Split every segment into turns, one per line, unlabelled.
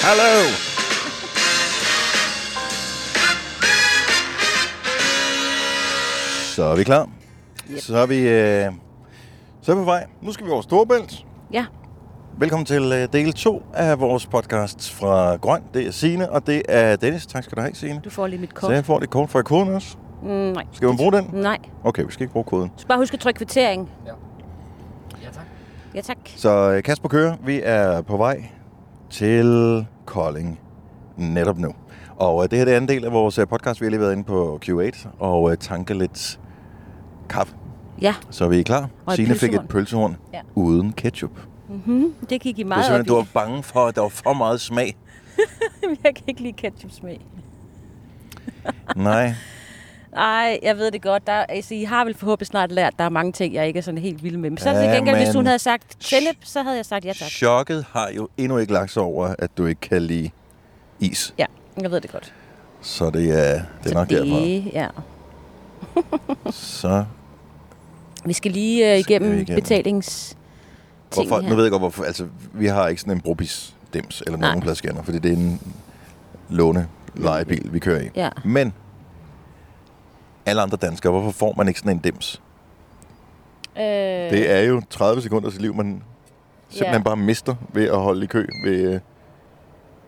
Hello. Så er vi klar.
Yep.
Så er vi, øh, så er vi på vej. Nu skal vi over Storebælt.
Ja.
Velkommen til øh, del 2 af vores podcast fra Grøn. Det er Signe, og det er Dennis. Tak skal du have, Signe.
Du får lige mit kort.
Så jeg får det kort fra koden også.
Mm, nej.
Skal man bruge den?
Nej.
Okay, vi skal ikke bruge koden.
Du skal bare huske at trykke kvittering.
Ja, tak.
Ja, tak.
Så øh, Kasper kører. Vi er på vej til Kolding netop nu. Og øh, det her det er anden del af vores øh, podcast. Vi har lige været inde på Q8 og øh, tanke lidt kaffe.
Ja,
Så er vi klar.
Og et
Signe fik et
pølsehorn.
pølsehorn ja.
Ja.
uden ketchup. Det
det gik I
var
meget op
simpelthen, du
i.
var bange for, at der var for meget smag.
jeg kan ikke lide ketchup smag.
Nej,
Nej, jeg ved det godt. Der, altså, I har vel forhåbentlig snart lært, at der er mange ting, jeg ikke er sådan helt vild med. Men så til
Ja,
gengæld, hvis
men-
hun havde sagt sennep, så havde jeg sagt ja tak.
chokket har jo endnu ikke lagt sig over, at du ikke kan lide is.
Ja, jeg ved det godt.
Så det er, det er nok
det,
derfor.
Ja.
Så
Vi skal lige uh,
Skal vi
igennem,
igennem?
betalings...
Hvorfor?
her.
Nu ved jeg godt, hvorfor. Altså, vi har ikke sådan en brobis dims eller
Nej.
nogen pladskanner, fordi det er en låne lejebil, vi kører i.
Ja.
Men alle andre danskere, hvorfor får man ikke sådan en dims?
Øh,
Det er jo 30 sekunder til liv, man simpelthen
Ja.
bare mister ved at holde i kø ved øh,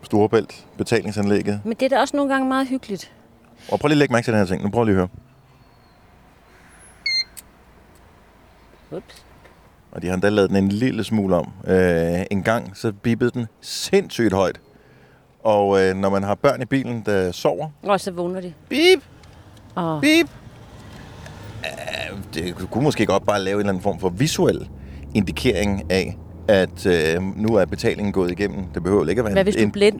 Storebælt, betalingsanlægget.
Men det er da også nogle gange meget hyggeligt.
Og prøv lige at lægge mærke til den her ting. Nu prøv lige at høre.
Ups.
Og de har endda lavet den en lille smule om. Øh, en gang, så bippede den sindssygt højt. Og øh, når man har børn i bilen, der sover,
Og så vågner de.
bip,
Og
Beep. Uh, det kunne måske godt bare lave en eller anden form for visuel indikering af, at øh, nu er betalingen gået igennem. Det behøver jo ikke at være
hvad hvis du
en...
er blind?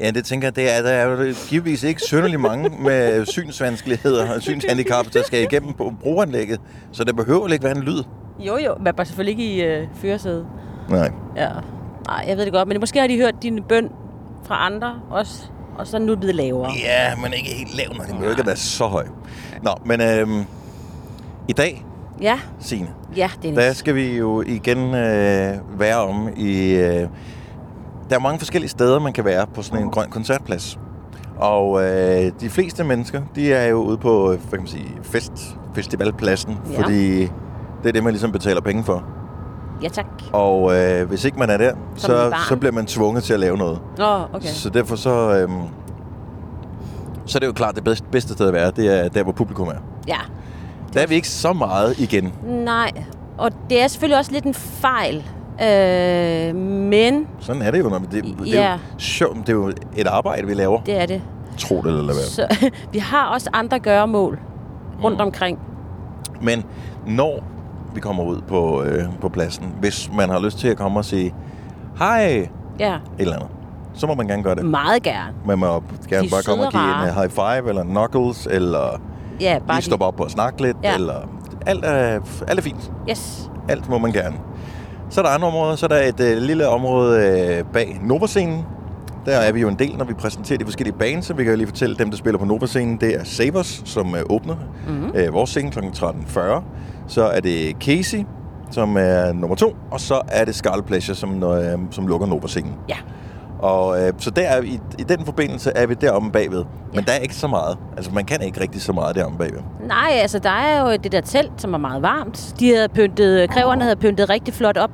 Ja, det tænker jeg, det er, der er jo givetvis ikke synderlig mange med synsvanskeligheder og synshandicap, der skal igennem på brugeranlægget. Så der behøver ikke være en lyd.
Jo, jo. Men bare selvfølgelig ikke i øh, førersædet.
Nej.
Ja. Nej, jeg ved det godt. Men måske har de hørt din bøn fra andre også. Og så er den nu blevet lavere.
Ja, men ikke helt lav, når den behøver ikke at være så høj. Nå, men øh, i dag,
Ja,
Signe,
ja Dennis.
Der skal vi jo igen øh, være om i... Øh, der er mange forskellige steder, man kan være på sådan en grøn koncertplads. Og øh, de fleste mennesker, de er jo ude på øh, hvad kan man sige, fest, festivalpladsen, ja.
Ja.
fordi det er det, man ligesom betaler penge for.
Ja, tak.
Og øh, hvis ikke man er der,
et
så,
barn.
så bliver man tvunget til at lave noget.
Nå, okay.
Så derfor så... Øh, så er det jo klart, det bedste, bedste sted at være, det er der, hvor publikum er.
Ja.
Der er vi ikke så meget igen.
Nej. Og det er selvfølgelig også lidt en fejl. Øh, men
Sådan er det jo. når vi- Det, det, er
Ja.
jo sjovt. det er jo et arbejde, vi laver.
det er det.
Tro det eller lad være.
Så, vi har også andre gøremål rundt omkring.
Men når vi kommer ud på, øh, på pladsen, hvis man har lyst til at komme og sige hej et
Ja,
eller andet, så må man gerne gøre det.
meget gerne.
Man må gerne
Mm. De
bare komme og
søde
give en
rare.
øh, high five, eller knuckles, eller
Ja,
bare
bare
lige stoppe op og snakke lidt,
Ja.
eller alt er, alt er fint.
Yes.
Alt må man gerne. Så er der andre områder. Så er der et øh, lille område øh, bag Novascenen. Der er vi jo en del, når vi præsenterer de forskellige baner, så vi kan jo lige fortælle dem, der spiller på Novascenen. Det er Sabers, som øh, åbner
Mhm.
mm-hmm. øh, vores scene kl. 13.40. Så er det Casey, som er nummer to. Og så er det Scarlet Pleasure, som, øh, som lukker Novascenen.
Ja.
Og øh, så der er, vi- i, i den forbindelse er vi deromme bagved. Men
Ja.
der er ikke så meget. Altså, man kan ikke rigtig så meget deromme bagved.
Nej, altså der er jo det der telt, som er meget varmt. De havde pyntet, kræverne havde pyntet rigtig flot op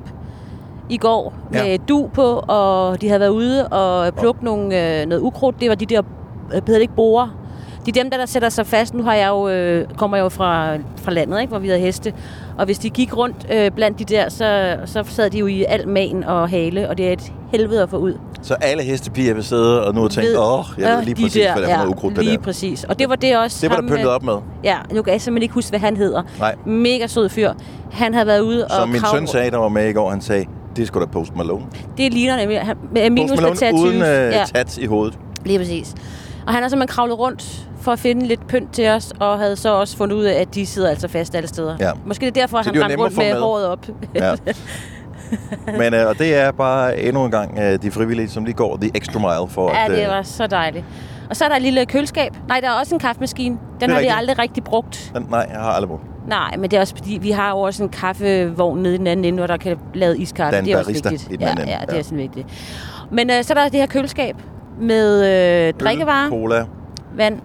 i går
Ja.
ja. med du på, og de havde været ude og plukke nogle, øh, noget ukrudt. Det var de der, øh, hedder det ikke, borer. De er dem, der, der sætter sig fast. Nu har jeg jo, øh, kommer jeg jo fra, fra landet, ikke, hvor vi havde heste. Og hvis de gik rundt øh, blandt de der, så, så sad de jo i al man og hale, og det er et helvede at få ud.
Så alle hestepiger vil sidde og nu og tænke, åh, jeg ved lige
de
præcis, hvad det er for noget ukrudt, det
lige
der.
præcis. Og det var det også.
Det var der
ham,
pyntet
øh,
op med.
Ja, nu kan jeg simpelthen ikke huske, hvad han hedder.
Nej.
Mega sød fyr. Han havde været ude og
Som min
kravle-
søn sagde, der var med i går, han sagde, det skulle da Post Malone.
Det ligner nemlig. Han, med minus
Post
med
Malone
tattoos.
uden øh,
ja,
tat i hovedet.
lige præcis. Og han har simpelthen kravlet rundt for at finde lidt pynt til os, og havde så også fundet ud af, at de sidder altså fast alle steder.
Ja.
Måske det er derfor,
Så
han
de var
rendte
nemme at
rundt
få
med,
med.
håret op.
Ja. Men øh, og det er bare endnu en gang øh, de frivillige, som lige går the extra mile for at...
ja, det
øh,
var så dejligt. Og så er der et lille køleskab. Nej, der er også en kaffemaskine. Den
er
har
rigtigt.
vi aldrig rigtig brugt.
den- Nej, jeg har aldrig brugt.
Nej, men det er også fordi, vi har jo også en kaffevogn nede i den anden ende, hvor der kan lave iskaffe.
Der er en
det er
barista
også vigtigt.
i den anden ende,
ja, ja, det
ja.
er sådan vigtigt. Men øh, så er der det her køleskab med øh, drikkevarer,
Øl, cola,
vand,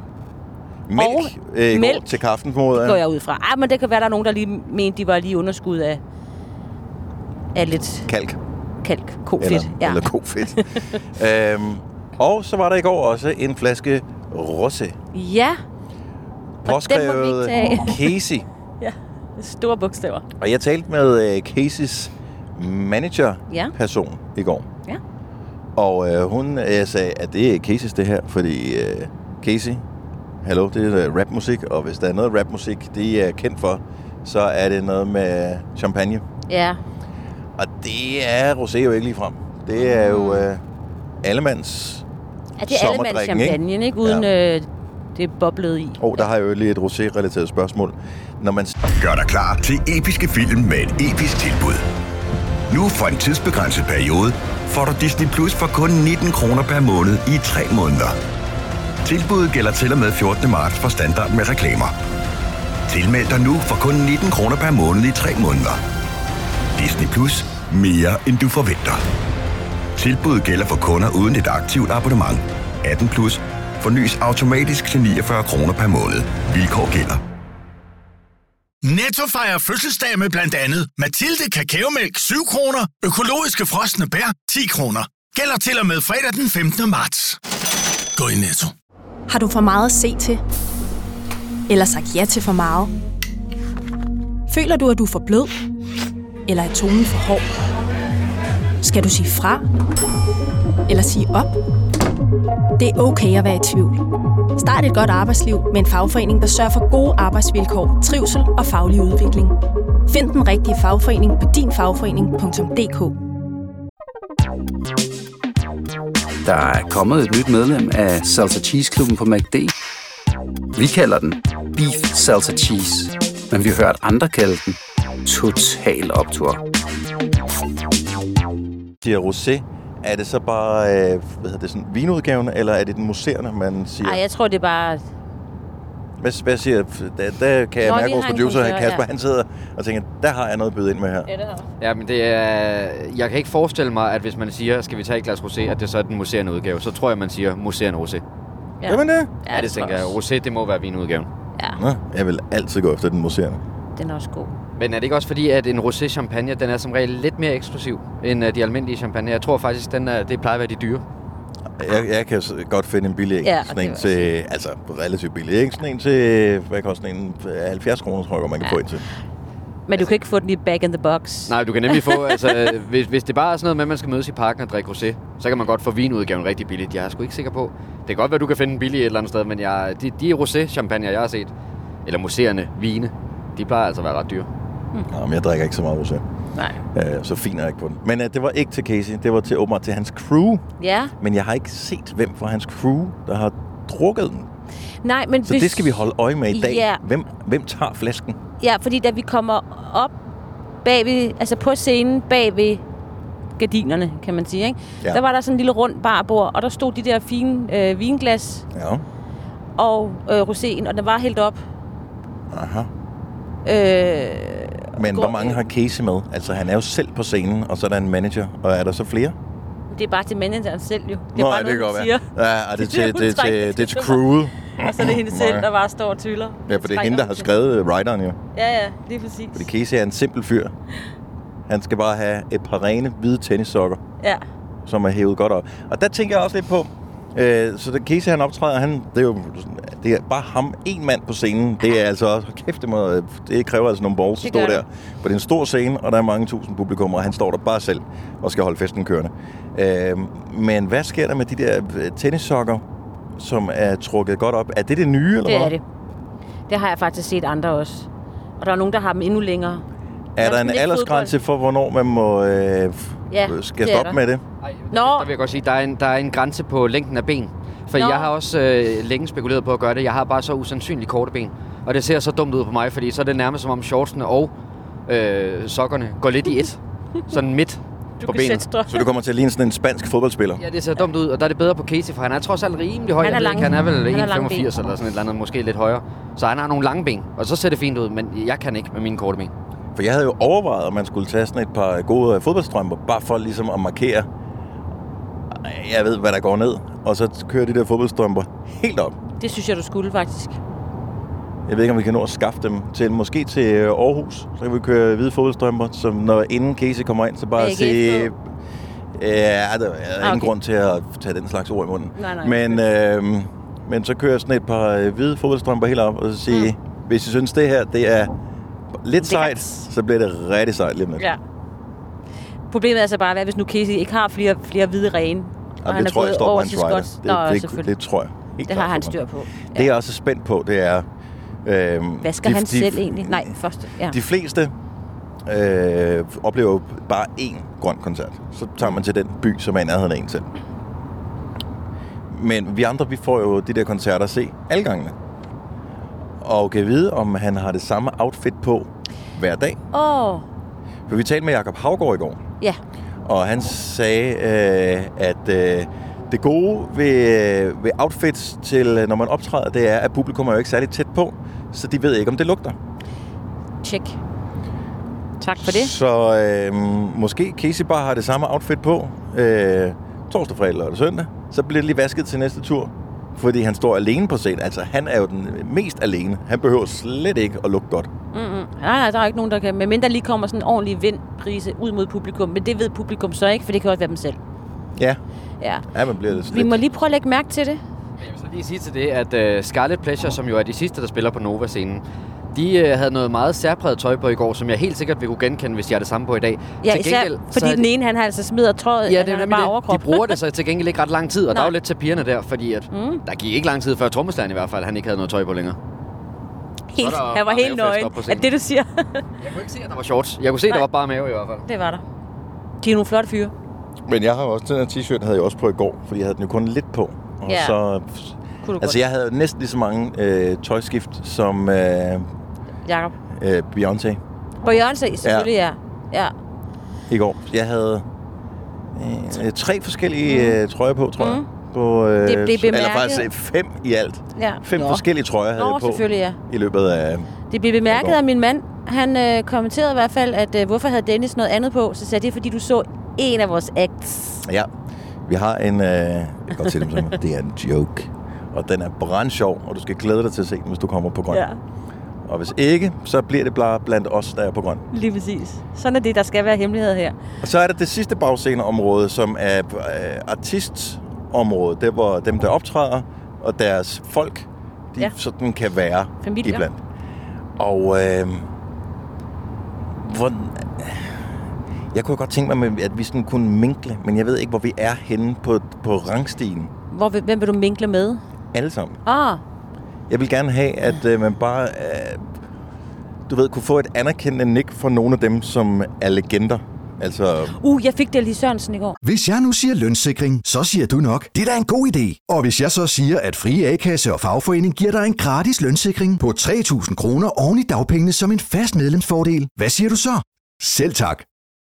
mælk, øh, mælk.
mælk.
Går til kaffen, måde.
går jeg ud fra. Ah, men det kan være, der er nogen, der lige mente, de var lige underskud af, af lidt
Kalk.
kalk,
Eller,
kofedt.
ja. eller kofedt. øhm, og så var der i går også en flaske rosé.
ja,
Påskrevet
tage.
Casey.
store bogstaver.
Og jeg talte med øh, Caseys
Ja.
manager-person ja. i går.
Ja.
Og øh, hun øh, sagde, at det er Caseys det her, fordi øh, Casey, hallo, det er øh, rapmusik, og hvis der er noget rapmusik, de er kendt for, så er det noget med champagne.
Ja,
Og det er rosé jo ikke ligefrem. Det er jo øh, allemands...
er det allemands
Sommerdrikken, ikke?
champagne, ikke? Uden ja. øh, det er boblet i.
Åh, oh, der har jeg jo lige et rosé-relateret spørgsmål. Når man
Gør dig klar til episke film med et episk tilbud. Nu for en tidsbegrænset periode får du Disney Plus for kun 19 kroner per måned i 3 måneder. Tilbuddet gælder til og med 14. marts for standard med reklamer. Tilmeld dig nu for kun 19 kroner per måned i 3 måneder. Disney Plus. Mere end du forventer. Tilbuddet gælder for kunder uden et aktivt abonnement. 18 plus. Fornyes automatisk til 49 kroner per måned. Vilkår gælder.
Netto fejrer fødselsdag med blandt andet Mathilde Kakaomælk 7 kroner, økologiske frosne bær 10 kroner. Gælder til og med fredag den 15. marts. Gå i Netto.
Har du for meget at se til? Eller sagt ja til for meget? Føler du, at du er for blød? Eller er tonen for hård? Skal du sige fra? Eller sige op? Det er okay at være i tvivl. Start et godt arbejdsliv med en fagforening, der sørger for gode arbejdsvilkår, trivsel og faglig udvikling. Find den rigtige fagforening på dinfagforening.dk.
Der er kommet et nyt medlem af Salsa Cheese Klubben på MACD. Vi kalder den Beef Salsa Cheese, men vi har hørt andre kalde den Total Optor.
siger rosé, er det så bare øh, hvad hedder det, sådan, vinudgaven, eller er det den museerne, man siger?
Ej, jeg tror, det er bare...
Hvad, hvad siger der, der kan jeg
Nå,
mærke
vi
vores
har en
producer,
frisør,
Kasper,
ja.
han sidder og tænker, der har jeg noget at byde ind med her.
Ja, det har
Ja, men det er... Jeg kan ikke forestille mig, at hvis man siger, skal vi tage et glas rosé, at det så er den museerende udgave. Så tror jeg, man siger museerende rosé.
Ja. Jamen det?
Ja, det tænker jeg. Rosé, det må være vinudgaven.
Nå, jeg vil altid gå efter den museerne.
Den er også god.
Men er det ikke også fordi, at en rosé champagne, den er som regel lidt mere eksklusiv end øh, de almindelige champagne? Jeg tror faktisk, den er, det plejer at være de dyre.
Jeg, jeg kan s- godt finde en billig en.
Ja,
sådan
det
en
vil jeg
til, altså relativt billig, ikke? Sådan en til, hvad koster sådan en? 70 kroner, tror jeg, godt, man kan ja. få en til.
Men du kan ikke få den i bag in the box.
Nej, du kan nemlig få, altså, øh, hvis, hvis det bare er sådan noget med, at man skal mødes i parken og drikke rosé, så kan man godt få vinudgaven rigtig billigt. Jeg er sgu ikke sikker på. Det kan godt være, du kan finde en billig et eller andet sted, men jeg, de, de rosé-champagner, jeg har set, eller museerne vine, de plejer altså at være ret dyre.
Nå, men jeg drikker ikke så meget rosé.
Nej.
Øh, så fint er jeg ikke på den. Men øh, det var ikke til Casey, det var til åbenbart til hans crew.
Ja.
Men jeg har ikke set, hvem fra hans crew, der har drukket den.
Nej, men
Så det skal vi holde øje med i dag.
Ja.
Hvem, hvem tager flasken?
Ja, fordi da vi kommer op bag ved, altså på scenen bag ved gardinerne, kan man sige, ikke?
Ja.
Ja. der var der sådan en lille rund barbord, og der stod de der fine øh, vinglas
Ja.
og øh, roséen, og den var helt op.
Aha.
Øh,
Men
Gå-
hvor mange har Casey med? Altså, han er jo selv på scenen, og så er der en manager. Og er der så flere?
det er bare til manageren selv jo. Det
Nå,
er bare
ja, det
noget,
kan
hun
godt
siger.
være. Ja, og det er til,
Det er hun
det, er
trækker
til, det er til
til
crewet.
Og så er det hende
Nej.
selv, der bare står og tyller.
Ja, for det er
Trækker
hende, der
hun
har
til.
skrevet øh, writeren jo.
Ja, ja, lige præcis.
Fordi Casey er en simpel fyr. Han skal bare have et par rene, hvide tennissokker,
Ja.
som er hævet godt op. Og der tænker jeg også lidt på, øh, så da Casey han optræder, han, det er jo det er bare ham, en mand på scenen. Det er altså også, hold kæft, det, må, det kræver altså nogle balls at stå
Det gør
der.
det.
For det er en stor scene, og der er mange tusind publikummer, og han står der bare selv og skal holde festen kørende. Øh, men hvad sker der med de der øh, tennissokker, som er trukket godt op? Er det det nye, eller
Det er
hvad?
det. Det har jeg faktisk set andre også. Og der er nogen, der har dem endnu længere.
Er der
sådan
en
lidt
aldersgrænse for, hvornår man må, øh, f-
Ja,
øh,
det
skal
er
stoppe
der.
med det?
Ej,
Nå.
Der vil jeg godt sige, der er en, der er en grænse på længden af ben. For
Nå.
jeg har også øh, længe spekuleret på at gøre det. Jeg har bare så usandsynligt korte ben. Og det ser så dumt ud på mig, fordi så er det nærmest som om shortsene og øh, sokkerne går lidt i et. Sådan midt
Du kan
på benet.
sætte strøm.
Så du kommer til at ligne sådan en spansk fodboldspiller?
Ja, det ser dumt ud, og der er det bedre på Casey, for han er trods alt rimelig høj.
Han er
Jeg ved
lang.
ikke, Han er vel
Han er lang
1,85 eller sådan et eller andet, måske lidt højere. Så han har nogle lange ben, og så ser det fint ud, men jeg kan ikke med mine korte ben.
For jeg havde jo overvejet, om man skulle tage sådan et par gode øh, fodboldstrømper, bare for ligesom at markere, jeg ved, hvad der går ned. Og så kører de der fodboldstrømper helt op.
Det synes jeg, du skulle faktisk.
Jeg ved ikke, om vi kan nå at skaffe dem til, måske til øh, Aarhus. Så kan vi køre hvide fodboldstrømper, som når inden Casey kommer ind, så bare
AGF
sige...
på.
Ja, der er okay. ingen
okay.
grund til at tage den slags ord i munden.
Nej, nej.
Men, øh, men så kører jeg sådan et par øh, hvide fodboldstrømper helt op, og så sige, mm. hvis I synes, det her det er lidt sejt,
Lækkert.
så bliver det rigtig sejt lige med.
Ja. Problemet er så bare, hvad hvis nu Casey ikke har flere, flere hvide rene?
Jamen, det tror jeg står på hans rider.
Scott.
Det,
Nå, det,
det, det,
selvfølgelig.
det
Det,
tror jeg. Helt
det, det
klart
har
på
han
mig.
styr på.
Det jeg også er spændt på, det er... Øhm,
Vasker han selv egentlig? Nej, først. Ja.
De fleste øh, oplever jo bare én grøn koncert. Så tager man til den by, som er i nærheden af en selv. Men vi andre, vi får jo de der koncerter at se alle gangene. Og kan vide, om han har det samme outfit på hver dag.
Åh, oh,
For vi talte med Jakob Havgård i går,
ja.
og han sagde, øh, at øh, det gode ved, ved outfits til, øh, når man optræder, det er, at publikum er jo ikke særlig tæt på, så de ved ikke, om det lugter.
Tjek. Tak for det.
Så øh, måske Casey bare har det samme outfit på øh, torsdag, fredag, lørdag, søndag. Så bliver det lige vasket til næste tur. Fordi han står alene på scenen. Altså, han er jo den mest alene. Han behøver slet ikke at lugte godt.
Mm-mm. Nej, nej, der er ikke nogen, der kan. Men der lige kommer sådan en ordentlig vindprise ud mod publikum. Men det ved publikum så ikke, for det kan også være dem selv.
Ja,
Ja.
ja man bliver lidt
Vi må lige prøve at lægge mærke til det.
Jeg vil så lige sige til det, at uh, Scarlet Pleasure, som jo er de sidste, der spiller på Nova-scenen, de uh, havde noget meget særpræget tøj på i går, som jeg helt sikkert vil kunne genkende, hvis jeg har det samme på i dag.
Ja,
til
især,
gengæld, så
fordi
er
den ene, han har altså smider tøjet,
Ja,
han
det er
har
jo
bare
nemlig det. De
overkrop.
bruger det så til gengæld ikke ret lang tid, og der
Nej.
er jo lidt til pigerne der, fordi at
Mm.
mm. der gik ikke lang tid før trommeslageren i hvert fald, han ikke havde noget tøj på længere.
Helt,
Så er der
han var
bare
helt
mavefest
nøgen.
op på
Er
scenen.
det, du siger?
Jeg kunne ikke se, at der var shorts. Jeg kunne se, at
Nej.
der var bare mave i hvert fald.
det var der. De er nogle flotte fyre.
Men jeg har jo også den her t-shirt, havde jeg også på i går, fordi jeg havde den jo kun lidt på. Og
Ja.
så,
Kunne du
altså, jeg havde jo næsten lige så mange øh, tøjskift som øh,
godt. Jakob.
øh, Beyoncé
På Jørgensen, selvfølgelig, ja. Ja.
i går. Jeg havde øh, tre forskellige øh, trøjer på, tror jeg.
Mm.
På, øh,
Det blev
Eller
bemærket.
faktisk øh, fem i alt.
ja.
Fem Nå. forskellige trøjer havde
Nå,
jeg på
selvfølgelig, ja.
i løbet af...
Det blev bemærket
går.
af min mand. Han øh, kommenterede i hvert fald, at øh, hvorfor havde Dennis noget andet på? Så sagde jeg, det er, fordi du så en af vores acts.
Ja, vi har en... Øh, jeg kan godt se dem som, det er en joke. Og den er brandsjov, og du skal glæde dig til at se den, hvis du kommer på grøn. Og hvis ikke, så bliver det bare blandt os, der er på grøn.
lige præcis. Sådan er det, der skal være hemmelighed her.
Og så er der det sidste bagsceneområde, som er øh, artistområdet. Det er, hvor dem, der optræder, og deres folk, de ja.
Ja.
sådan kan være
Familier.
iblandt. Og øh, hvor, jeg kunne godt tænke mig, at vi sådan kunne minkle, men jeg ved ikke, hvor vi er henne på, på rangstigen.
Hvor, vil- hvem vil du minkle med?
Alle sammen.
Ah,
Jeg vil gerne have, at øh, man bare, øh, du ved, kunne få et anerkendende nik fra nogle af dem, som er legender. Altså,
uh, jeg fik det lige Sørensen i går.
Hvis jeg nu siger lønssikring, så siger du nok, det er da en god idé. Og hvis jeg så siger, at Frie A-kasse og Fagforening giver dig en gratis lønssikring på 3.000 kroner oven i dagpengene som en fast medlemsfordel, hvad siger du så? Selv tak.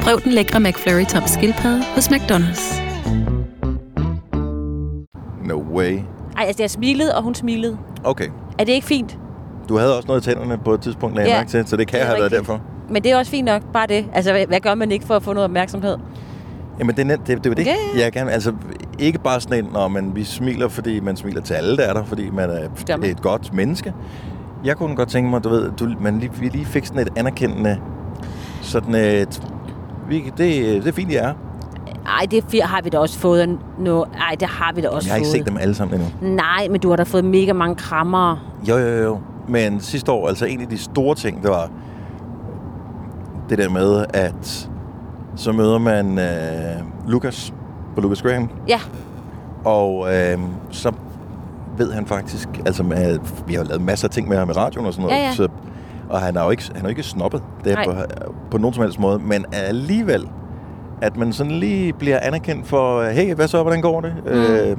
Prøv den lækre McFlurry tom skildpadde hos McDonald's.
no way.
Ej, altså jeg smilede, og hun smilede.
Okay.
Er det ikke fint?
Du havde også noget i tænderne på et tidspunkt, lagde jeg
Ja.
mærke til, så det kan
Det er
have været
rigtigt.
derfor.
Men det er også fint nok, bare det. Altså, hvad, hvad gør man ikke for at få noget opmærksomhed?
Jamen, det er nemt. Det, det var det,
Ja, ja.
jeg gerne... Altså, ikke bare sådan en, når man, vi smiler, fordi man smiler til alle, der er der, fordi man er
Stemmer.
et godt menneske. Jeg kunne godt tænke mig, du ved, du, man lige, vi lige fik sådan et anerkendende... Sådan et... Vi, det, det er fint, jeg er.
Ej, det fire har vi da også fået nu. Ej, det har vi da også
Jeg har ikke
fået.
set dem alle sammen endnu.
Nej, men du har da fået mega mange krammer.
Jo, jo, jo. Men sidste år, altså en af de store ting, det var det der med, at så møder man øh, Lucas på Lucas Graham,
Ja,
og øh, så ved han faktisk, altså med, vi har jo lavet masser af ting med ham i radioen og sådan noget,
Ja, ja.
Så, og han er jo ikke, han er jo ikke snobbet det er
Nej.
på, på nogen som helst måde, men alligevel, at man sådan lige bliver anerkendt for, hey, hvad så, hvordan går det? Mm. Øh,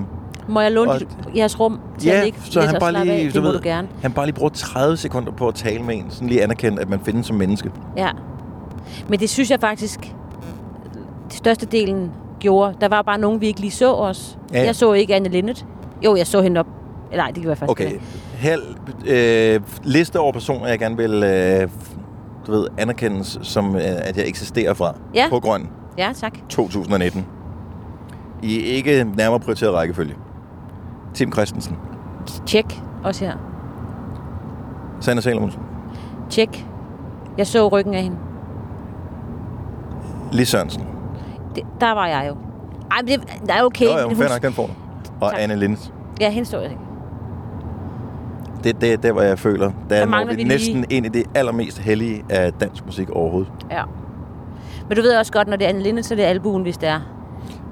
må jeg låne
Og-
dit, jeres rum til at ligge
så
lidt
han
og
bare
slappe
lige,
af? Det må du gerne.
han bare lige bruger 30 sekunder på at tale med en, sådan lige anerkendt, at man findes som menneske.
Ja. Men det synes jeg faktisk, det største delen gjorde. Der var bare nogen, vi ikke lige så os.
Ja.
Ja. Jeg så ikke Anne Linnet. Jo, jeg så hende op. Nej, det gjorde jeg faktisk
Okay,
ikke.
hel, øh, liste over personer, jeg gerne vil øh, du ved, anerkendes, som øh, at jeg eksisterer fra.
Ja.
På Grøn
Ja, tak.
2019. I ikke nærmere prioriteret rækkefølge. Tim Christensen,
Tjek også her.
Sander Salomonsen,
Tjek. Jeg så ryggen af hende.
Lis Sørensen.
Det, der var jeg jo. Ej, men det, nej, okay.
jo, jo,
men
fair
hun-
nok, den får du. Og
Tak.
Anne Lindes.
Ja, hende så jeg ikke.
Det, det er der, hvor jeg føler, der, der når
mangler
vi,
vi lige-
næsten ind i det allermest hellige af dansk musik overhovedet.
Ja. Men du ved også godt, når det er Anne Linnet, så er det albuen, hvis det er.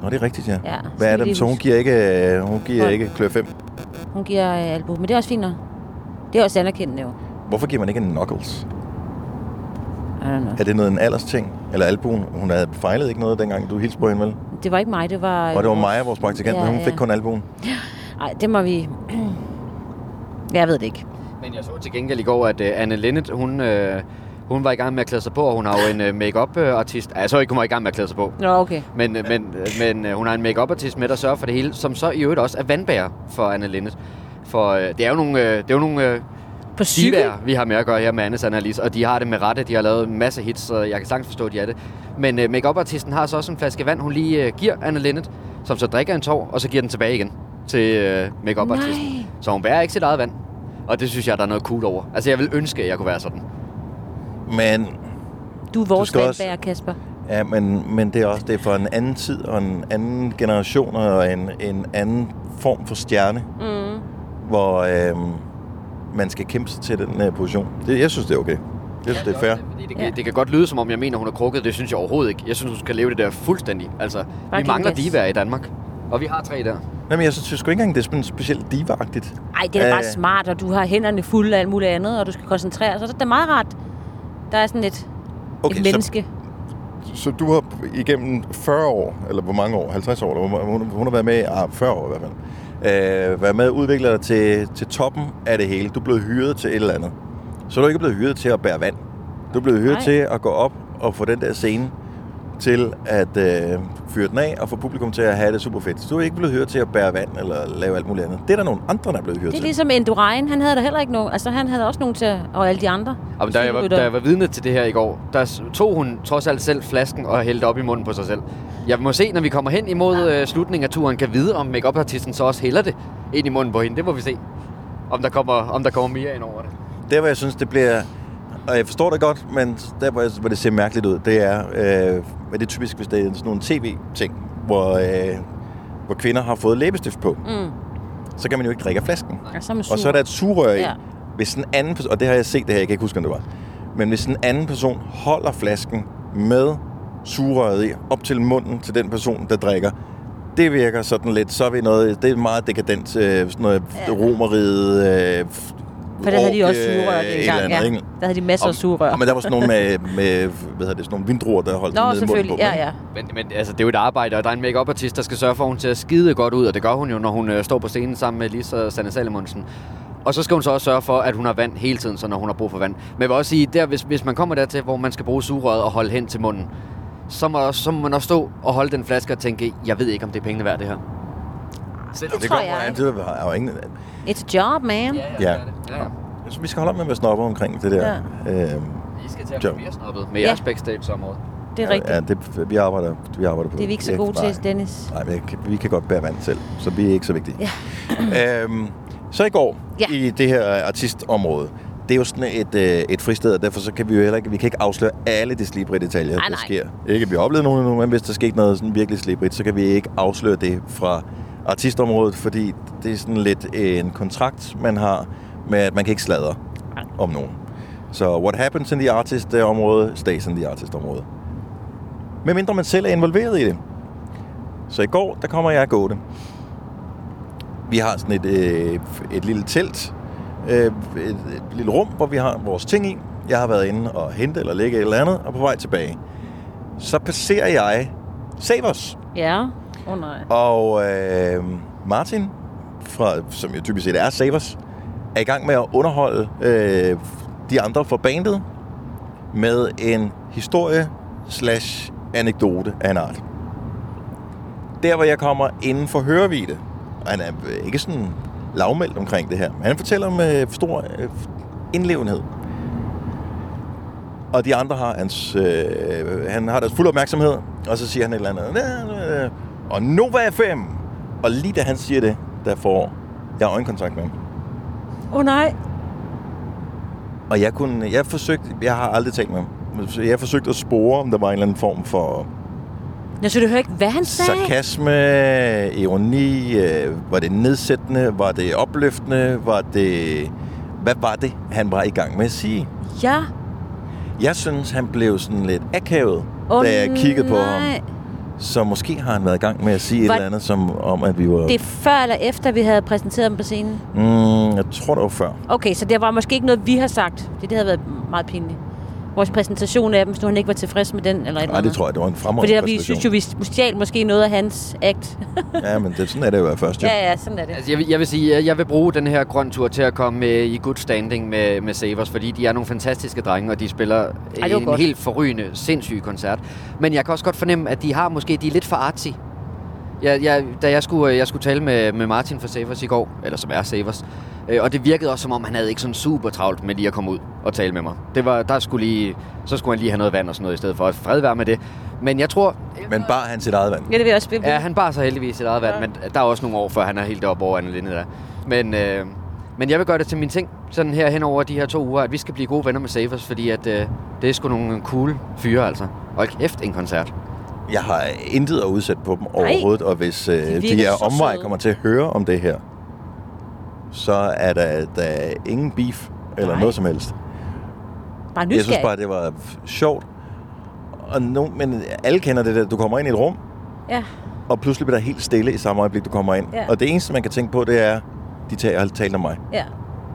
Nå, det er rigtigt, ja.
Ja,
Hvad
skal
er
vi
det?
lige
Så hun
huske.
giver ikke, øh, hun giver
Hold.
ikke klør 5.
Hun giver øh, albuen, men det er også fint nok. Det er også anerkendende jo.
Hvorfor giver man ikke en knuckles?
I don't know.
Er det noget en alders ting? Eller albuen? Hun havde fejlet ikke noget, dengang du hilste på hende, vel?
Det var ikke mig, det var...
Og det var Maja, vores praktikant,
Ja,
ja, men hun
ja.
fik kun albuen.
Nej, det må vi... jeg ved det ikke.
Men jeg så til gengæld i går, at uh, Anne Linnet, hun, uh, hun var i gang med at klæde sig på, og hun har jo en uh, make-up-artist. Ej, jeg så ikke, hun var i gang med at klæde sig på.
Nå, okay.
Men, øh, men, øh, men øh, hun har en make-up-artist med, der sørger for det hele, som så i øvrigt også er vandbærer for Anne Linnet. For øh, det er jo nogle, øh, det er jo nogle øh,
På cykel?
divaer, vi har med at gøre her med Anne Annalise, og de har det med rette. De har lavet en masse hits, så jeg kan sagtens forstå, at de er det. Men øh, make-up-artisten har så også en flaske vand, hun lige øh, giver Anne Linnet, som så drikker en tår, og så giver den tilbage igen til øh,
Nej.
make-up-artisten. Så hun bærer ikke sit eget vand. Og det synes jeg, der er noget cool over. Altså, jeg vil ønske, at jeg kunne være sådan.
Men,
Du er vores
skal også-
vandbærer, Kasper.
ja, men, men det er også det er for en anden tid, og en anden generation, og en, en anden form for stjerne,
Mm.
hvor øhm, man skal kæmpe sig til den øh, position. Det, jeg synes, det er okay. Jeg synes, det er fair.
Fordi Det, kan, det kan godt lyde, som om jeg mener, hun er krukket. Det synes jeg overhovedet ikke. Jeg synes, hun skal leve det der fuldstændig. Altså, vi
Fucking
mangler
yes.
divaer i Danmark. Og vi har tre der.
Jamen, jeg synes sgu ikke engang, det er sådan specielt divagtigt.
Ej, det er da
Øh.
bare smart, og du har hænderne fulde af alt muligt andet, og du skal koncentrere dig. Så det er da meget rart. Der er sådan et, okay,
Okay,
et
så-
menneske.
Så du har igennem 40 år, eller hvor mange år, 50 år, eller hvor- hun, hun har været med, ah, 40 år i hvert fald, øh, været med udvikler dig til, til toppen af det hele. Du er blevet hyret til et eller andet. Så er du ikke blevet hyret til at bære vand. Du er blevet hyret
Nej.
til at gå op og få den der scene til at øh, fyre den af og få publikum til at have det super fedt. Så du er ikke blevet hyret til at bære vand eller lave alt muligt andet. Det er der nogle andre, der er blevet hyret
Det er
til.
ligesom Endurain. Han havde der heller ikke nogen. Altså, han havde også nogen til, og alle de andre.
Og men da, jeg var, da jeg var vidne til det her i går, der s- tog hun trods alt selv flasken og hældte op i munden på sig selv. Jeg må se, når vi kommer hen imod øh, slutningen af turen, kan vide, om make-up-artisten så også hælder det ind i munden på hende. Det må vi se, om der kommer, om der kommer mere ind over det.
Der, hvor jeg synes, det bliver... Og jeg forstår det godt, men der, hvor, jeg, hvor det ser mærkeligt ud, det er... Øh, men det er typisk, hvis det er sådan nogle tv-ting, hvor, øh, hvor kvinder har fået læbestift på.
Mm.
Så kan man jo ikke drikke af flasken.
Og så, er man sur.
Og så er der et sugerør i.
Ja.
Hvis en anden person, og det har jeg set det her, jeg kan ikke huske, om det var. Men hvis en anden person holder flasken med sugerøret i, op til munden til den person, der drikker, det virker sådan lidt, så er vi noget, det er meget dekadent, øh, sådan noget ja. romeriet, øh,
For der havde de også sugerør
øh, et
dengang.
eller andet,
Ja.
ikke?
Der havde de masser af sugerør.
Og, men der var sådan nogle med, med hvad hedder det, sådan nogle vindruer, der holdt
Nå,
nede i munden
selvfølgelig.
på.
Ja,
ikke?
ja.
Men, men altså, det er jo et arbejde, og der er en make-up-artist, der skal sørge for, at hun ser skide godt ud, og det gør hun jo, når hun øh, står på scenen sammen med Lisa og Sanne Salomonsen. Og så skal hun så også sørge for, at hun har vand hele tiden, så når hun har brug for vand. Men jeg vil også sige, der, hvis, hvis man kommer dertil, hvor man skal bruge sugerøret og holde hen til munden, så må, så må man også stå og holde den flaske og tænke, jeg ved ikke, om det er pengene værd, det her.
Det,
Det
tror
kommer
jeg.
an,
ikke.
det var, var ingen,
It's a job, man. Ja,
ja.
Ja, ja.
Jeg synes, vi skal holde op med at være snobber omkring det der. Ja. Øhm,
I skal til at
Jo.
blive mere snobbet med
Ja.
jeres backstage-område.
det er rigtigt.
ja, det, vi arbejder, vi arbejder på
Det er vi ikke så
Jeg-
gode
nej.
til, Dennis.
Nej, men jeg kan, vi kan godt bære vand selv, så vi er ikke så vigtige. Ja. øhm, så i går,
Ja.
ja. i det her artistområde, det er jo sådan et, øh, et fristed, og derfor så kan vi jo heller ikke, vi kan ikke afsløre alle de slibrige detaljer,
Nej,
der
nej.
sker. Ikke at vi har oplevet nogen endnu, men hvis der skete noget sådan virkelig slibrigt, så kan vi ikke afsløre det fra artistområdet, fordi det er sådan lidt en kontrakt, man har med, at man kan ikke sladre om nogen. Så what happens in the artist-område, stays in the artist-område. Medmindre man selv er involveret i det. Så i går, der kommer jeg gående. Vi har sådan et, øh, et lille telt, øh, et, et lille rum, hvor vi har vores ting i. Jeg har været inde og hente eller lægge et eller andet, og på vej tilbage. Så passerer jeg Savers.
Ja. Åh oh, nej.
Og øh, Martin, fra, som jo typisk set er Savers, er i gang med at underholde øh, de andre fra bandet med en historie slash anekdote af en art. Der, hvor jeg kommer inden for hørevidde, og han er øh, ikke sådan lavmældt omkring det her, men han fortæller med stor øh, indlevenhed. Og de andre har hans, øh, han har deres fuld opmærksomhed, og så siger han et eller andet, "Næ, næ, næ." og Nova FM. Og lige da han siger det, der får jeg øjenkontakt med ham.
Åh oh, nej.
Og jeg kunne, jeg forsøgte, jeg har aldrig talt med ham, så jeg forsøgte at spore, om der var en eller anden form for
Jeg synes, du hører ikke, hvad han sagde.
sarkasme, ironi, øh, var det nedsættende, var det opløftende, var det, hvad var det, han var i gang med at sige?
Ja.
Jeg synes, han blev sådan lidt akavet,
Åh,
oh, da jeg kiggede på
nej.
ham. Så måske har han været i gang med at sige
Var-
et eller andet, som om, at vi var...
Det er før eller efter, vi havde præsenteret dem på scenen.
Mm, jeg tror, det var før.
Okay, så det var måske ikke noget, vi har sagt. Det, det havde været meget pinligt. Vores præsentation af dem, hvis nu han ikke var tilfreds med den eller et eller
Nej,
andet.
det tror jeg, det var en fremragende
Mhm. Fordi der, vi
præstation.
synes jo, vi stjal måske noget af hans act.
Ja, men det, sådan er det jo først, jo.
ja, ja, sådan er det.
Altså, jeg, vil, jeg vil sige, jeg, jeg vil bruge den her grøn tur til at komme med i good standing med, med Savers, fordi de er nogle fantastiske drenge, og de spiller
var
Ej, en
godt.
helt forrygende, sindssyg koncert. Men jeg kan også godt fornemme, at de har måske, de er lidt for artsy. Jeg, jeg, da jeg skulle, øh, jeg skulle tale med, med Martin fra Savers i går, eller som er Savers, øh, og det virkede også, som om han havde ikke sådan super travlt med lige at komme ud og tale med mig. Det var, der skulle lige, så skulle han lige have noget vand og sådan noget i stedet for. Fred være med det. Men jeg tror...
Men bar han sit eget vand?
Ja, det vil jeg også bevæge.
Ja, han bar sig heldigvis sit eget vand,
Ja.
ja. men der er også nogle år, før han er helt oppe over Anna Linde der. Men, øh, men jeg vil gøre det til min ting, sådan her hen over de her to uger, at vi skal blive gode venner med Savers, fordi at, øh, det er sgu nogle cool fyre, altså. Og kæft, en koncert.
Jeg har intet at udsætte på dem overhovedet, og hvis øh, de,
virker
de er
så
omvej
søde.
kommer til at høre om det her, så er der, der ingen beef eller
Nej.
noget som helst.
Bare
Jeg synes
nysgerrig.
bare, det var f- sjovt. Og no, men alle kender det der, du kommer ind i et rum,
Ja.
og pludselig bliver der helt stille i samme øjeblik, du kommer ind.
Ja.
Og det eneste, man kan tænke på, det er, de tager, har talt om mig.
Ja,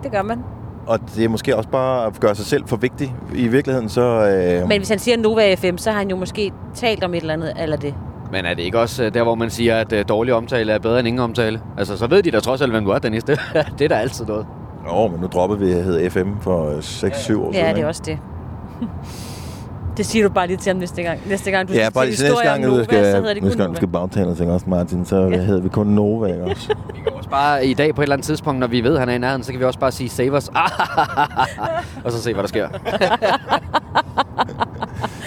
det gør man.
Og det er måske også bare at gøre sig selv for vigtig. I virkeligheden så... Øh,
Men hvis han siger Nova FM, så har han jo måske talt om et eller andet, eller det.
Men er det ikke også øh, der, hvor man siger, at øh, dårlig omtale er bedre end ingen omtale? Altså, så ved de da trods alt, hvem du er, Dennis. Det, det er der altid noget.
Nå, men nu dropper vi, jeg hed FM for 6-7 år siden.
Ja, det
ikke?
er også det. det siger du bare lige til ham næste gang. Næste gang, du
ja,
skal
bare lige
til
til næste gang,
Nova,
du skal,
så hedder det
nu
kun
skal,
Nova.
du skal bagtale og tænke også, Martin, så ja. hedder vi kun Nova, ikke også?
Også bare i dag på et eller andet tidspunkt, når vi ved, at han er i nærheden, så kan vi også bare sige Savers. og så se, hvad der sker.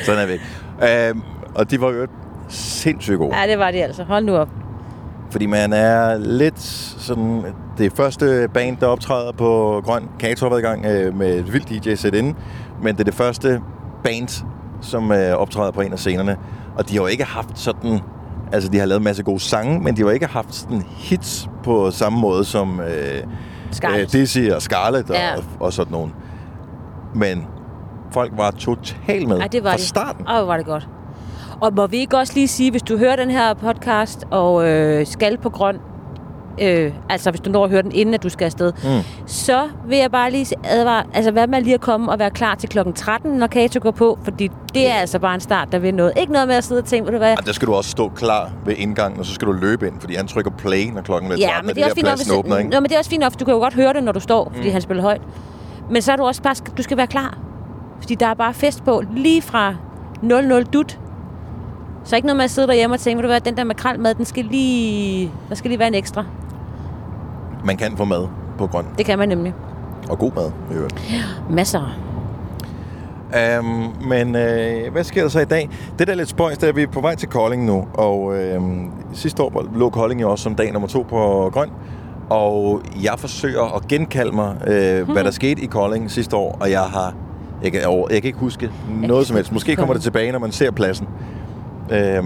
Sådan er vi. Øhm, og de var jo sindssygt gode.
Ja, det var det altså. Hold nu op.
Øh, Fordi man er lidt sådan... Det første band, der optræder på Grøn Kato har været i gang øh, med et vildt DJ sæt inde. Men det er det første band, som øh, optræder på en af scenerne. Og de har jo ikke haft sådan... Altså, de har lavet en masse gode sange, men de har jo ikke haft sådan hits på samme måde som... Øh,
Scarlett.
Øh, Dizzy og Scarlett og,
Ja.
ja. og sådan nogen. Men folk var totalt med
Ej, det var
fra
det.
starten.
Åh, hvor var det godt. Og må vi ikke også lige sige, hvis du hører den her podcast og øh, skal på grøn, øh, altså hvis du når at høre den, inden at du skal afsted, mm. så vil jeg bare lige advare, altså hvad med lige at komme og være klar til klokken 13, når Kato går på, fordi det er altså bare en start, der vil noget. Ikke noget med at sidde og tænke, ved du hvad,
Og der skal du også stå klar ved indgangen, og så skal du løbe ind, fordi han trykker play, når klokken er 13,
Ja,
og
men det
der
er, også fint nok,
pladsen
hvis,
åbner, ikke?
Nå, men det er også fint nok, for du kan jo godt høre det, når du står, fordi
Mm.
han spiller højt. Men så er du også bare, du skal være klar. Fordi der er bare fest på, lige fra 00 dut. Så ikke noget med at sidde derhjemme og tænke, ved du hvad, den der makrelmad, den skal lige, der skal lige være en ekstra.
Man kan få mad på grøn,
Det kan man nemlig.
og god mad, i øvrigt.
Masser.
Um, men øh, hvad sker der så i dag? Det der er lidt spøjst, det er, at vi er på øhm, vej til Kolding nu, og øh, sidste år lå Kolding jo også som dag nummer to på grøn, Og jeg forsøger at genkalde mig, øh, hvad der skete i Kolding sidste år, og jeg har... Jeg kan, over- jeg kan ikke huske noget som helst. Måske kommer det tilbage, når man ser pladsen. Øhm,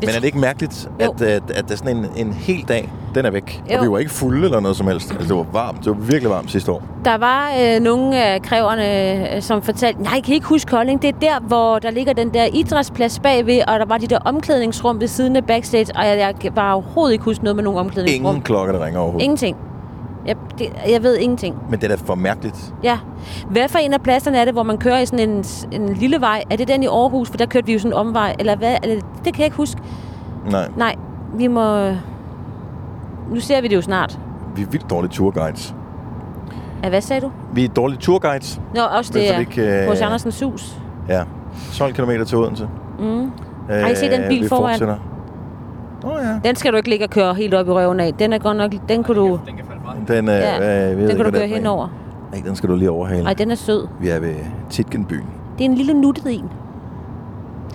men er det ikke mærkeligt, at, at, at der er sådan en, en hel dag, den er væk? Jo.
Jo.
Og vi var ikke fulde eller noget som helst. Altså, det var varmt. Det var virkelig varmt sidste år.
Der var øh, nogle af kræverne, øh, som fortalte, nej, jeg kan ikke huske Kolding, det er der, hvor der ligger den der idrætsplads bagved, og der var de der omklædningsrum ved siden af backstage, og jeg, jeg kan bare overhovedet ikke huske noget med nogle omklædningsrum.
Ingen klokke, der ringer overhovedet.
Ingenting. Jeg, det, jeg ved ingenting.
Men det er da for mærkeligt.
Ja. Hvad for en af pladserne er det, hvor man kører i sådan en, en lille vej? Er det den i Aarhus? For der kørte vi jo sådan en omvej. Eller hvad? Eller, det kan jeg ikke huske.
Nej,
Nej, vi må... Nu ser vi det jo snart.
vi er vildt dårlige turguides.
Ja, hvad sagde du?
Vi er dårlige turguides.
Nå, også
Men
det
så
er
det ikke, øh,
hos Andersens hus.
Ja. 12 km til Odense. Øh,
Mm. Har I set den bil
vi
foran?
fortsætter. Åh oh, ja.
Den skal du ikke ligge og køre helt op i røven af. Den er godt nok... Den kunne du... Den kan,
Den, øh, ja. øh,
den kan du køre henover.
Nej, den skal du lige overhale.
Ej, den er sød.
Vi er ved Titgenbyen.
Det er en lille nuttet en.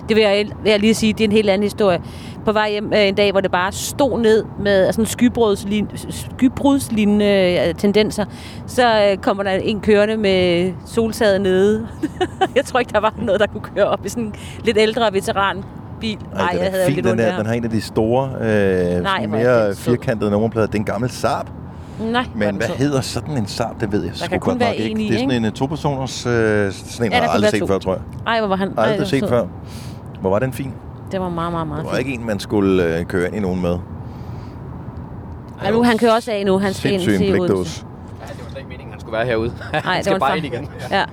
Det vil jeg, vil jeg lige sige, det er en helt anden historie. På vej hjem øh, en dag, hvor det bare stod ned med altså, skybrudslignende, skybrudslignende øh, tendenser, så øh, kommer der en kørende med soltaget nede. jeg tror ikke, der var noget, der kunne køre op i sådan en lidt ældre veteranbil. Nej,
den
jeg
er
havde
fin,
lidt
den
ondt
der. Den har en af de store, øh, sådan
hvor er den
mere
sød.
firkantede nummerplader. Det er en gammel Saab.
Nej, hvor er
Men
den
hvad
sød.
hedder sådan en Saab? Det ved jeg sgu
kan kun
godt nok
være
ikke.
en i,
det er sådan
ikke?
en øh, to-personers... Øh, sådan en,
Ja,
ja,
der
jeg
kan
har aldrig
være
set
to.
før, tror jeg.
Ej, hvor var han... Ej, det var
Aldrig set
sød.
før. Hvor var den fin?
Det var meget, meget, meget
Det var
fint.
ikke en, man skulle øh, køre ind i nogen med.
Ej, nu, han kører også af nu. Han skal ind
Sindssyg en
til Odense.
blikdåse.
Han skulle være herude.
Nej,
Han
det
skal
var
bare
en
ind igen.
Ja.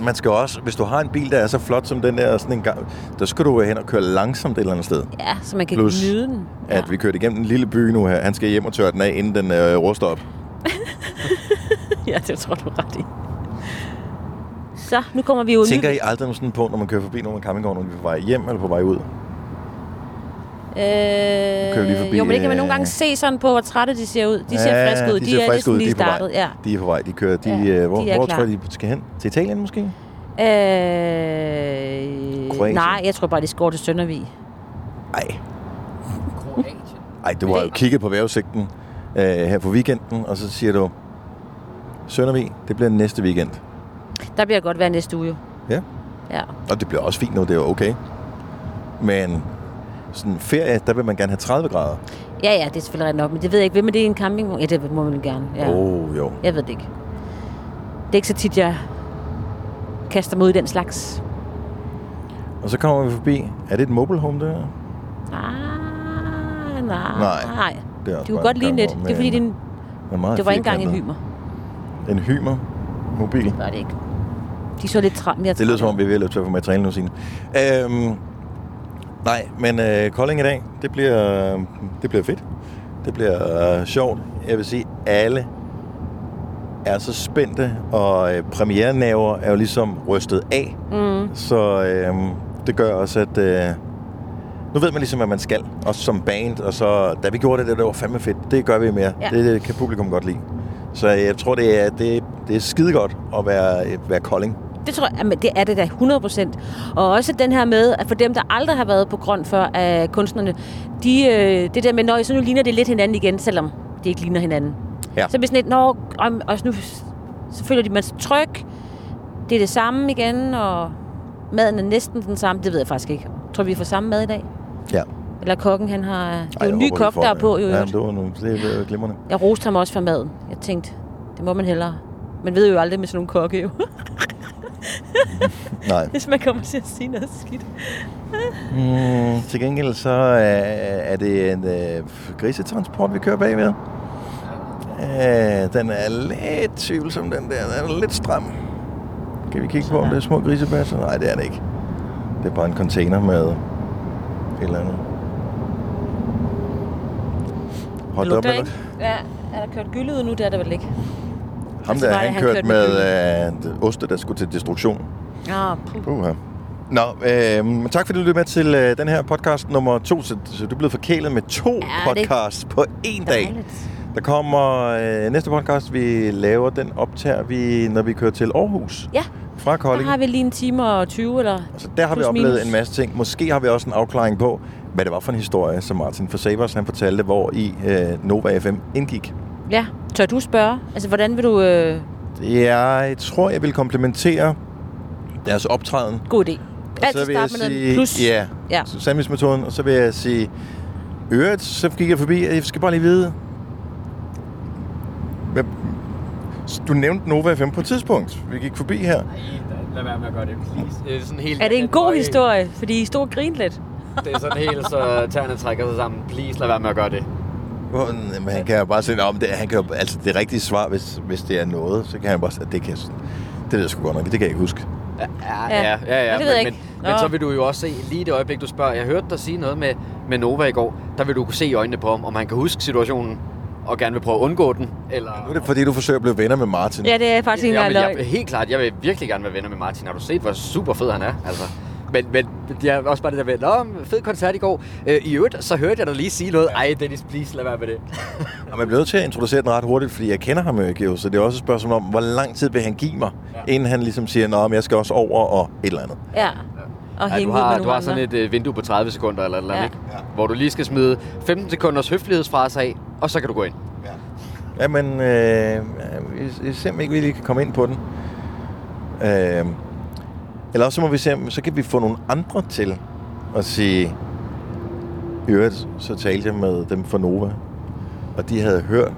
Man skal også, hvis du har en bil, der er så flot som den der, og sådan en gang, der skal du hen og køre langsomt et eller andet sted.
ja, så man kan
Plus,
nyde den.
At vi kørte igennem en lille by nu her. Han skal hjem og tørre den af, inden den øh, ruster op.
ja, det tror du ret i. Så, nu kommer vi ud.
Tænker I aldrig sådan på, når man kører forbi nogle af campingvognene, når vi er på vej hjem eller på vej ud? kører vi lige forbi,
Øh, jo, men det kan man nogle gange
øh,
se sådan på, hvor trætte de ser ud. De ser friske ud.
De, ser
er
friske
næsten
ud. de
lige
er på vej.
startet. Ja.
De er på vej. De kører. De,
Ja,
øh, hvor,
de er
hvor
klar.
tror I, de skal hen? Til Italien måske?
Øh,
Kroatien.
nej, jeg tror bare, de skår til Søndervig.
Ej, du har jo kigget på vejrudsigten øh, her på weekenden, og så siger du, Søndervig, det bliver næste weekend.
Der bliver godt vejr næste uge. jo.
Ja.
Ja.
Og det bliver også fint nu, det er jo okay. Men sådan en ferie, der vil man gerne have 30 grader.
ja, ja, det er selvfølgelig ret nok. Men det ved jeg ikke. Hvem er det i en campingvogn? Ja, det må man gerne. Ja.
Oh, jo.
Jeg ved det ikke. Det er ikke så tit, jeg kaster mig ud i den slags.
Og så kommer vi forbi. Er det et mobile home, det her?
Ah, nej.
Nej.
nej.
Det er også
Du kunne
bare
godt
en øh,
ligne lidt.
campingvogn
Det er fordi,
med en-
din,
Den er meget
det var ikke engang en
firkantet.
hymer.
En hymer mobil.
Nej, det er ikke. De så lidt træt mere
Det lyder
trætte
som om, vi er ved at løbe tør for materiale nu, Signe. Øhm, nej, men øh, Kolding i dag, det bliver, øh, det bliver fedt. Det bliver øh, sjovt. Jeg vil sige, alle er så spændte, og øh, premierenaver er jo ligesom rystet af.
Mm.
Så øh, det gør også, at øh, nu ved man ligesom, hvad man skal. Også som band, og så da vi gjorde det, det, det var fandme fedt. Det gør vi mere.
Ja.
Ja. Det, det kan publikum godt lide. Så jeg tror, det er, det, det er skide godt at være, øh, være Kolding.
Det tror jeg, jamen, det er det da 100 procent. Og også den her med, at for dem, der aldrig har været på grøn før af kunstnerne, de, øh, det der med, nøj, så nu ligner det lidt hinanden igen, selvom det ikke ligner hinanden.
Ja.
Så bliver sådan lidt, nå, om, og nu, så føler de, man sig tryg, det er det samme igen, og maden er næsten den samme, det ved jeg faktisk ikke. Tror vi får samme mad i dag?
Ja.
Eller kokken, han har... Det er
Ej,
jo en
jeg
ny
håber, de
kok,
får
der er
det.
på, jo.
Ja,
i øvrigt.
men det var nu, det er glimrende.
Jeg roste ham også for maden. Jeg tænkte, det må man hellere. Man ved jo aldrig med sådan nogle kokke, jo.
Nej.
Hvis man kommer til at sige noget skidt.
Mm, til gengæld så øh, er det en øh, grisetransport, vi kører bagved. Øh, den er lidt tvivlsom, den der. Den er lidt stram. Kan vi kigge på, om det er små grisebasser? Nej, det er det ikke. Det er bare en container med et eller andet. Hold op, eller?
Ja, er der kørt gylde ud nu? Det er der vel ikke.
Ham
Altså,
der,
var det,
han
han
kørte
kørte
med,
med
med øh, oste, der skulle til destruktion.
Ah,
Puha. Nå, øh, men tak fordi du lyttede med til øh, den her podcast nummer to. Så, så du er blevet forkælet med to
det-
podcasts på én dag. Der kommer øh, næste podcast, vi laver, den optager vi, når vi kører til Aarhus.
Ja,
Fra
der
Kolding.
har vi lige en time og 20, eller
Så der har vi
plus
oplevet
minus.
en masse ting. Måske har vi også en afklaring på, hvad det var for en historie, som Martin Forsabers han fortalte, hvor i øh, Nova FM indgik.
Ja, tør du spørge? Altså, hvordan vil du... Øh...
Jeg tror, jeg vil komplementere deres optræden.
God idé. Altid
vil jeg
starte med noget plus.
Ja,
ja.
ja. sandwichmetoden. Og så vil jeg sige, øret, så gik jeg forbi, og jeg skal bare lige vide, hvad, du nævnte Nova FM på et tidspunkt. Vi gik forbi her.
Lad være med at gøre det, please. Det er sådan helt...
Er det en god historie? Fordi I stod og grinede lidt.
Det er sådan helt, så tæerne trækker sig sammen. Please, lad være med at gøre det.
Hvor- Men han kan jo bare sige, om det, han kan jo, altså det rigtige svar, hvis, hvis det er noget, så kan han bare sige, at det kan jeg s- det ved jeg sgu godt nok, det kan jeg ikke huske.
Ja,
Ja.
ja, ja. ja,
Ja, det ved
men,
jeg ikke.
Men,
Nå.
men så vil du jo også se, lige det øjeblik, du spørger, jeg hørte dig sige noget med, med Nova i går, der vil du kunne se i øjnene på ham, om han kan huske situationen, og gerne vil prøve at undgå den, eller...
Nu er det, fordi du forsøger at blive venner med Martin.
Ja, det er faktisk ikke
Ja,
engang
men
løgn.
jeg, helt klart, jeg vil virkelig gerne være venner med Martin. Har du set, hvor super fed han er? Altså, men, men det er også bare det der med, Nå, fed koncert i går. Øh, I øvrigt, så hørte jeg dig lige sige noget. Ej, Dennis, please, lad være med det.
Og man bliver nødt til at introducere den ret hurtigt, fordi jeg kender ham jo ikke, jo, så det er også et spørgsmål om, hvor lang tid vil han give mig, ja. inden han ligesom siger, nå, men jeg skal også over og et eller andet.
Ja. Og
Ja,
hænge
du
ud med
har,
nogle
du har
andre.
sådan et øh, vindue på 30 sekunder eller et eller andet,
Ja.
ikke? hvor du lige skal smide 15 sekunders høflighedsfrase af, og så kan du gå ind.
Jamen, øh, jeg, jeg ser, om ikke vi lige kan komme ind på den. Øh, eller også så må vi se, om- så kan vi få nogle andre til at sige, i øvrigt, så talte jeg med dem fra Nova, og de havde hørt,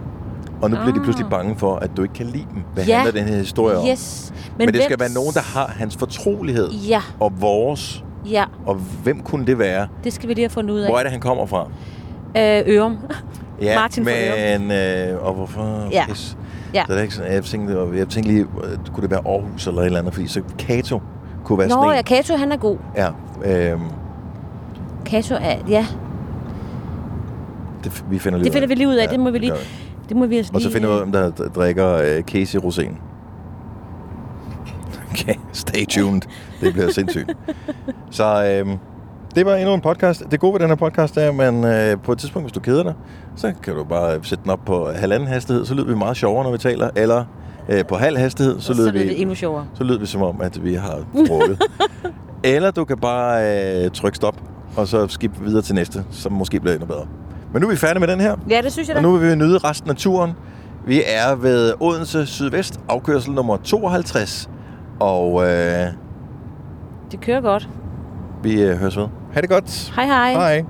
og nu ah. bliver de
Ah.
pludselig bange for, at du ikke kan lide dem. Hvad
Ja.
ja. handler den her historie om?
Yes.
Men, Men det skal
hvem-
være nogen, der har hans fortrolighed
Ja,
og vores,
ja.
og hvem kunne det være?
Det skal vi lige have fundet ud af.
Hvor er det, han kommer fra?
Øh, Ørum.
Ja,
Martin fra
men, øh, og hvorfor?
Ja.
Pis.
Ja.
Så det er ikke sådan, jeg tænkte, og jeg tænkte lige, øh, kunne det være Aarhus eller et eller andet, fordi så Kato kunne være
Nå,
sådan
ja,
en.
Kato, han er god.
Ja, øh,
Kato er, ja,
det, f- vi finder lige
det finder vi lige ud af. det må vi lige,
gør
det må vi altså
Og så
lige,
finder vi ud af, om der d- drikker øh, Casey Rosén. Okay, stay tuned. Det bliver sindssygt. Så øh, det var endnu en podcast. Det gode ved den her podcast er, at man, øh, på et tidspunkt, hvis du keder dig, så kan du bare sætte den op på halvanden hastighed, så lyder vi meget sjovere, når vi taler. Eller øh, på halv hastighed, så
så
lyder
lyder
vi
det endnu sjovere.
så lyder vi som om, at vi har drukket. Eller du kan bare øh, trykke stop, og så skip videre til næste, som måske bliver endnu bedre. Men nu er vi færdige med den her,
Ja, det synes jeg da.
og nu vil vi nyde resten af turen. Vi er ved Odense Sydvest, afkørsel nummer 52, og øh,
Det kører godt.
vi øh, høres ved. Ha' det godt.
Hej hej.
Hej.